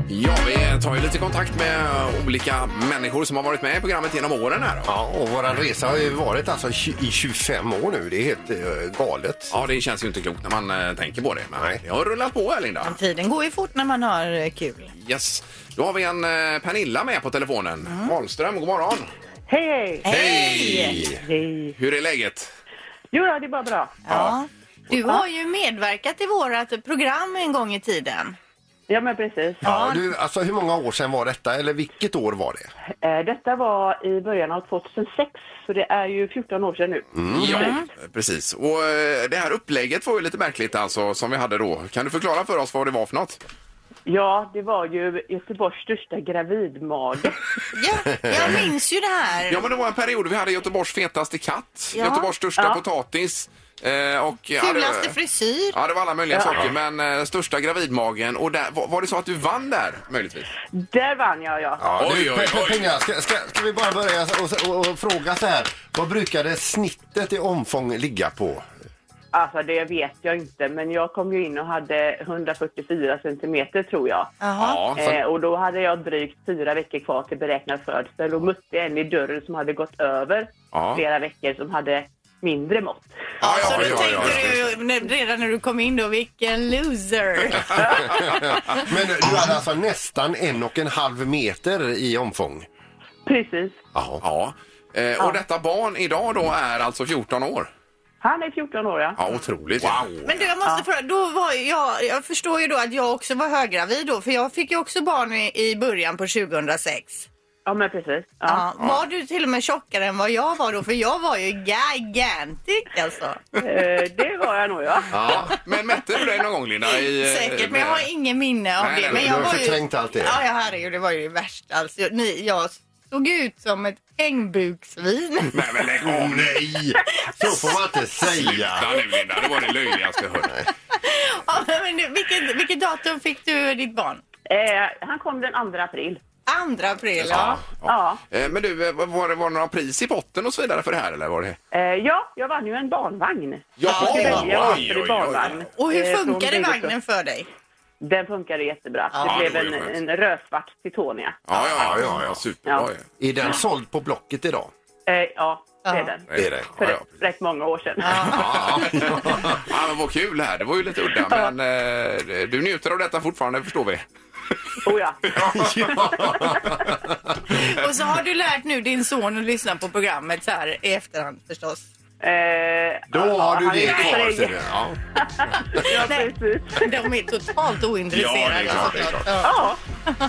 Speaker 2: Ja, vi tar ju lite kontakt med olika människor som har varit med i programmet genom åren här. då.
Speaker 4: Ja, och våran resa har ju varit alltså tj- i 25 år nu. Det är helt eh, galet.
Speaker 2: Ja, det känns ju inte klokt när man eh, tänker på det. Men det har rullat på här, Linda.
Speaker 3: Tiden går ju fort när man har eh, kul.
Speaker 2: Yes. Då har vi en eh, Pernilla med på telefonen. Wahlström, god morgon.
Speaker 12: Hej, hej!
Speaker 2: Hej!
Speaker 12: Hej!
Speaker 2: Hur är läget?
Speaker 12: Jo, då, det är bara bra.
Speaker 3: Ja. Du har ju medverkat i vårat program en gång i tiden.
Speaker 12: Ja, men precis.
Speaker 4: Ja, du, alltså hur många år sedan var detta? Eller vilket år var det?
Speaker 12: Eh, Detta var i början av 2006, så det är ju 14 år sedan nu.
Speaker 2: Mm. Ja, precis. Och eh, det här upplägget var ju lite märkligt alltså, som vi hade då. Kan du förklara för oss vad det var för något?
Speaker 12: Ja, det var ju Göteborgs största gravidmage.
Speaker 3: Jag minns ju det här.
Speaker 2: Ja, men det var en period vi hade Göteborgs fetaste katt,
Speaker 3: Ja.
Speaker 2: Göteborgs största
Speaker 3: Ja.
Speaker 2: potatis eh, och... ja,
Speaker 3: Fulaste
Speaker 2: det-
Speaker 3: frisyr.
Speaker 2: Ja, det var alla möjliga
Speaker 12: Ja.
Speaker 2: saker, men eh, största gravidmagen. Och där, var, var det så att du vann där, möjligtvis?
Speaker 12: Där vann jag, ja.
Speaker 4: Ja, nu, Pe- Pe- Pernilla, ska, ska, ska vi bara börja och, och, och fråga så här. Vad brukade snittet i omfång ligga på?
Speaker 12: Alltså, det vet jag inte, men jag kom ju in och hade 144 centimeter, tror jag.
Speaker 2: Ja, så-
Speaker 12: Eh, och då hade jag drygt fyra veckor kvar till beräknad födsel och mötte en i dörren som hade gått över
Speaker 2: Ja.
Speaker 12: flera veckor som hade mindre mått.
Speaker 2: Ja,
Speaker 3: Så då tänkte du när- redan när du kom in då, vilken loser.
Speaker 4: Men du hade alltså nästan en och en halv meter i omfång?
Speaker 12: Precis.
Speaker 2: Ja. Eh, och detta barn idag då är alltså 14 år?
Speaker 12: Han är 14 år, ja.
Speaker 2: Ja, otroligt. Wow.
Speaker 3: Men du, jag måste fråga, då var ju jag, jag förstår ju då att jag också var höggravid då, för jag fick ju också barn i, i början på 2006.
Speaker 12: Ja, men precis. Ja.
Speaker 3: Ja. Var du till och med tjockare än vad jag var då? För jag var ju gigantic alltså.
Speaker 12: Eh, det var jag nog, ja.
Speaker 2: Ja. Men mätte du dig någon gång, Linda? I, eh,
Speaker 3: Säkert, men jag har ingen minne av
Speaker 2: Nej,
Speaker 3: det.
Speaker 2: nej,
Speaker 3: Men
Speaker 2: nej,
Speaker 3: jag
Speaker 2: du har
Speaker 3: var ju-
Speaker 2: förträngt allt det.
Speaker 3: Ja, ja, herregud, det var ju det värsta. Alltså, jag- ni, jag såg ut som ett ängbuksvin.
Speaker 2: Nej, men lägg av
Speaker 4: nej! Så får man inte säga.
Speaker 2: Sluta nu, Linda. Det var det löjligaste jag hört.
Speaker 3: ja, men du, vilket, vilket datum fick du ditt barn?
Speaker 12: Eh, han kom den 2 april.
Speaker 3: 2 april, ja.
Speaker 12: Ja.
Speaker 2: Eh, Men du, eh, var det, var det några pris i botten och så vidare för det här, eller var det?
Speaker 12: Eh, ja, jag vann ju en barnvagn.
Speaker 2: Jaha,
Speaker 12: Jag skulle välja
Speaker 2: oj,
Speaker 12: valfri
Speaker 2: oj, oj.
Speaker 12: barnvagn.
Speaker 3: Och hur
Speaker 12: Eh, från
Speaker 3: funkade
Speaker 12: Bygdekust.
Speaker 3: vagnen för dig?
Speaker 12: Den funkade jättebra.
Speaker 4: Ja,
Speaker 12: det
Speaker 4: det
Speaker 12: blev
Speaker 4: var ju skönt.
Speaker 12: en, en rödsvart Titonia.
Speaker 2: Ja, ja, ja, ja superbra
Speaker 12: Ja.
Speaker 4: Är den såld på Blocket idag?
Speaker 12: Eh, ja, det är den.
Speaker 4: Det är det.
Speaker 12: För rätt, rätt många år sedan.
Speaker 2: Ja, ja men vad kul det här. Det var ju lite udda, men eh, du njuter av detta fortfarande, förstår vi.
Speaker 12: Oh ja.
Speaker 3: Och så har du lärt nu din son att lyssna på programmet så här i efterhand förstås.
Speaker 12: Eh,
Speaker 4: Då har du
Speaker 3: han
Speaker 4: det
Speaker 3: är
Speaker 4: kvar.
Speaker 3: sträng.
Speaker 4: ser du. Ja.
Speaker 3: Nej, de är totalt
Speaker 2: Ja, det
Speaker 3: ointresserade
Speaker 2: är klart, det är klart.
Speaker 3: såklart. Ja.
Speaker 2: alltså.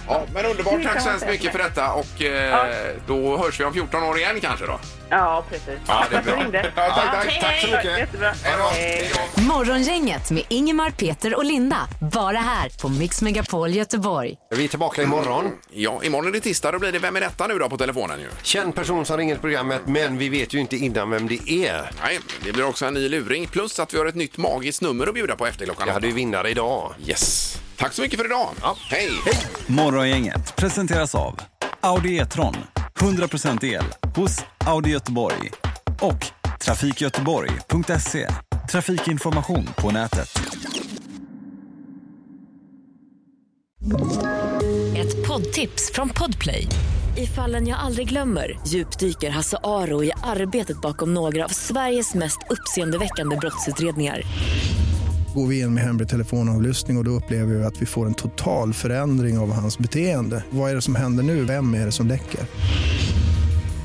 Speaker 2: Ja, men underbart. Tack så hemskt mycket för detta. Och eh, då hörs vi om 14 år igen kanske då.
Speaker 12: Ja, precis.
Speaker 2: Ja, det är bra.
Speaker 12: Jag ringde.
Speaker 2: Ja, tack, tack.
Speaker 12: Hej,
Speaker 2: Tack så
Speaker 12: hej.
Speaker 2: mycket.
Speaker 12: Jättebra.
Speaker 2: Hej då.
Speaker 13: Morgongänget med Ingemar, Peter och Linda. Bara här på Mix Megapol Göteborg.
Speaker 4: Vi är tillbaka imorgon.
Speaker 2: Ja, imorgon är det tisdag. Då blir det Vem är detta nu då på telefonen ju?
Speaker 4: Känd person som ringer till programmet men vi vet ju inte innan vem det är.
Speaker 2: Nej, det blir också en ny luring. Plus att vi har ett nytt magiskt nummer att bjuda på efter klockan
Speaker 4: Jag hade ju vinnare idag.
Speaker 2: Yes. Tack så mycket för idag. Hej!
Speaker 7: Morgongänget presenteras av Audi E-tron. 100% el hos Audi Göteborg. Och trafikgöteborg.se. Trafikinformation på nätet.
Speaker 14: Ett poddtips från Podplay. I fallen jag aldrig glömmer djupdyker Hasse Aro i arbetet bakom några av Sveriges mest uppseendeväckande brottsutredningar.
Speaker 8: Går vi in med hemlig telefonavlyssning och, och då upplever vi att vi får en total förändring av hans beteende. Vad är det som händer nu? Vem är det som läcker?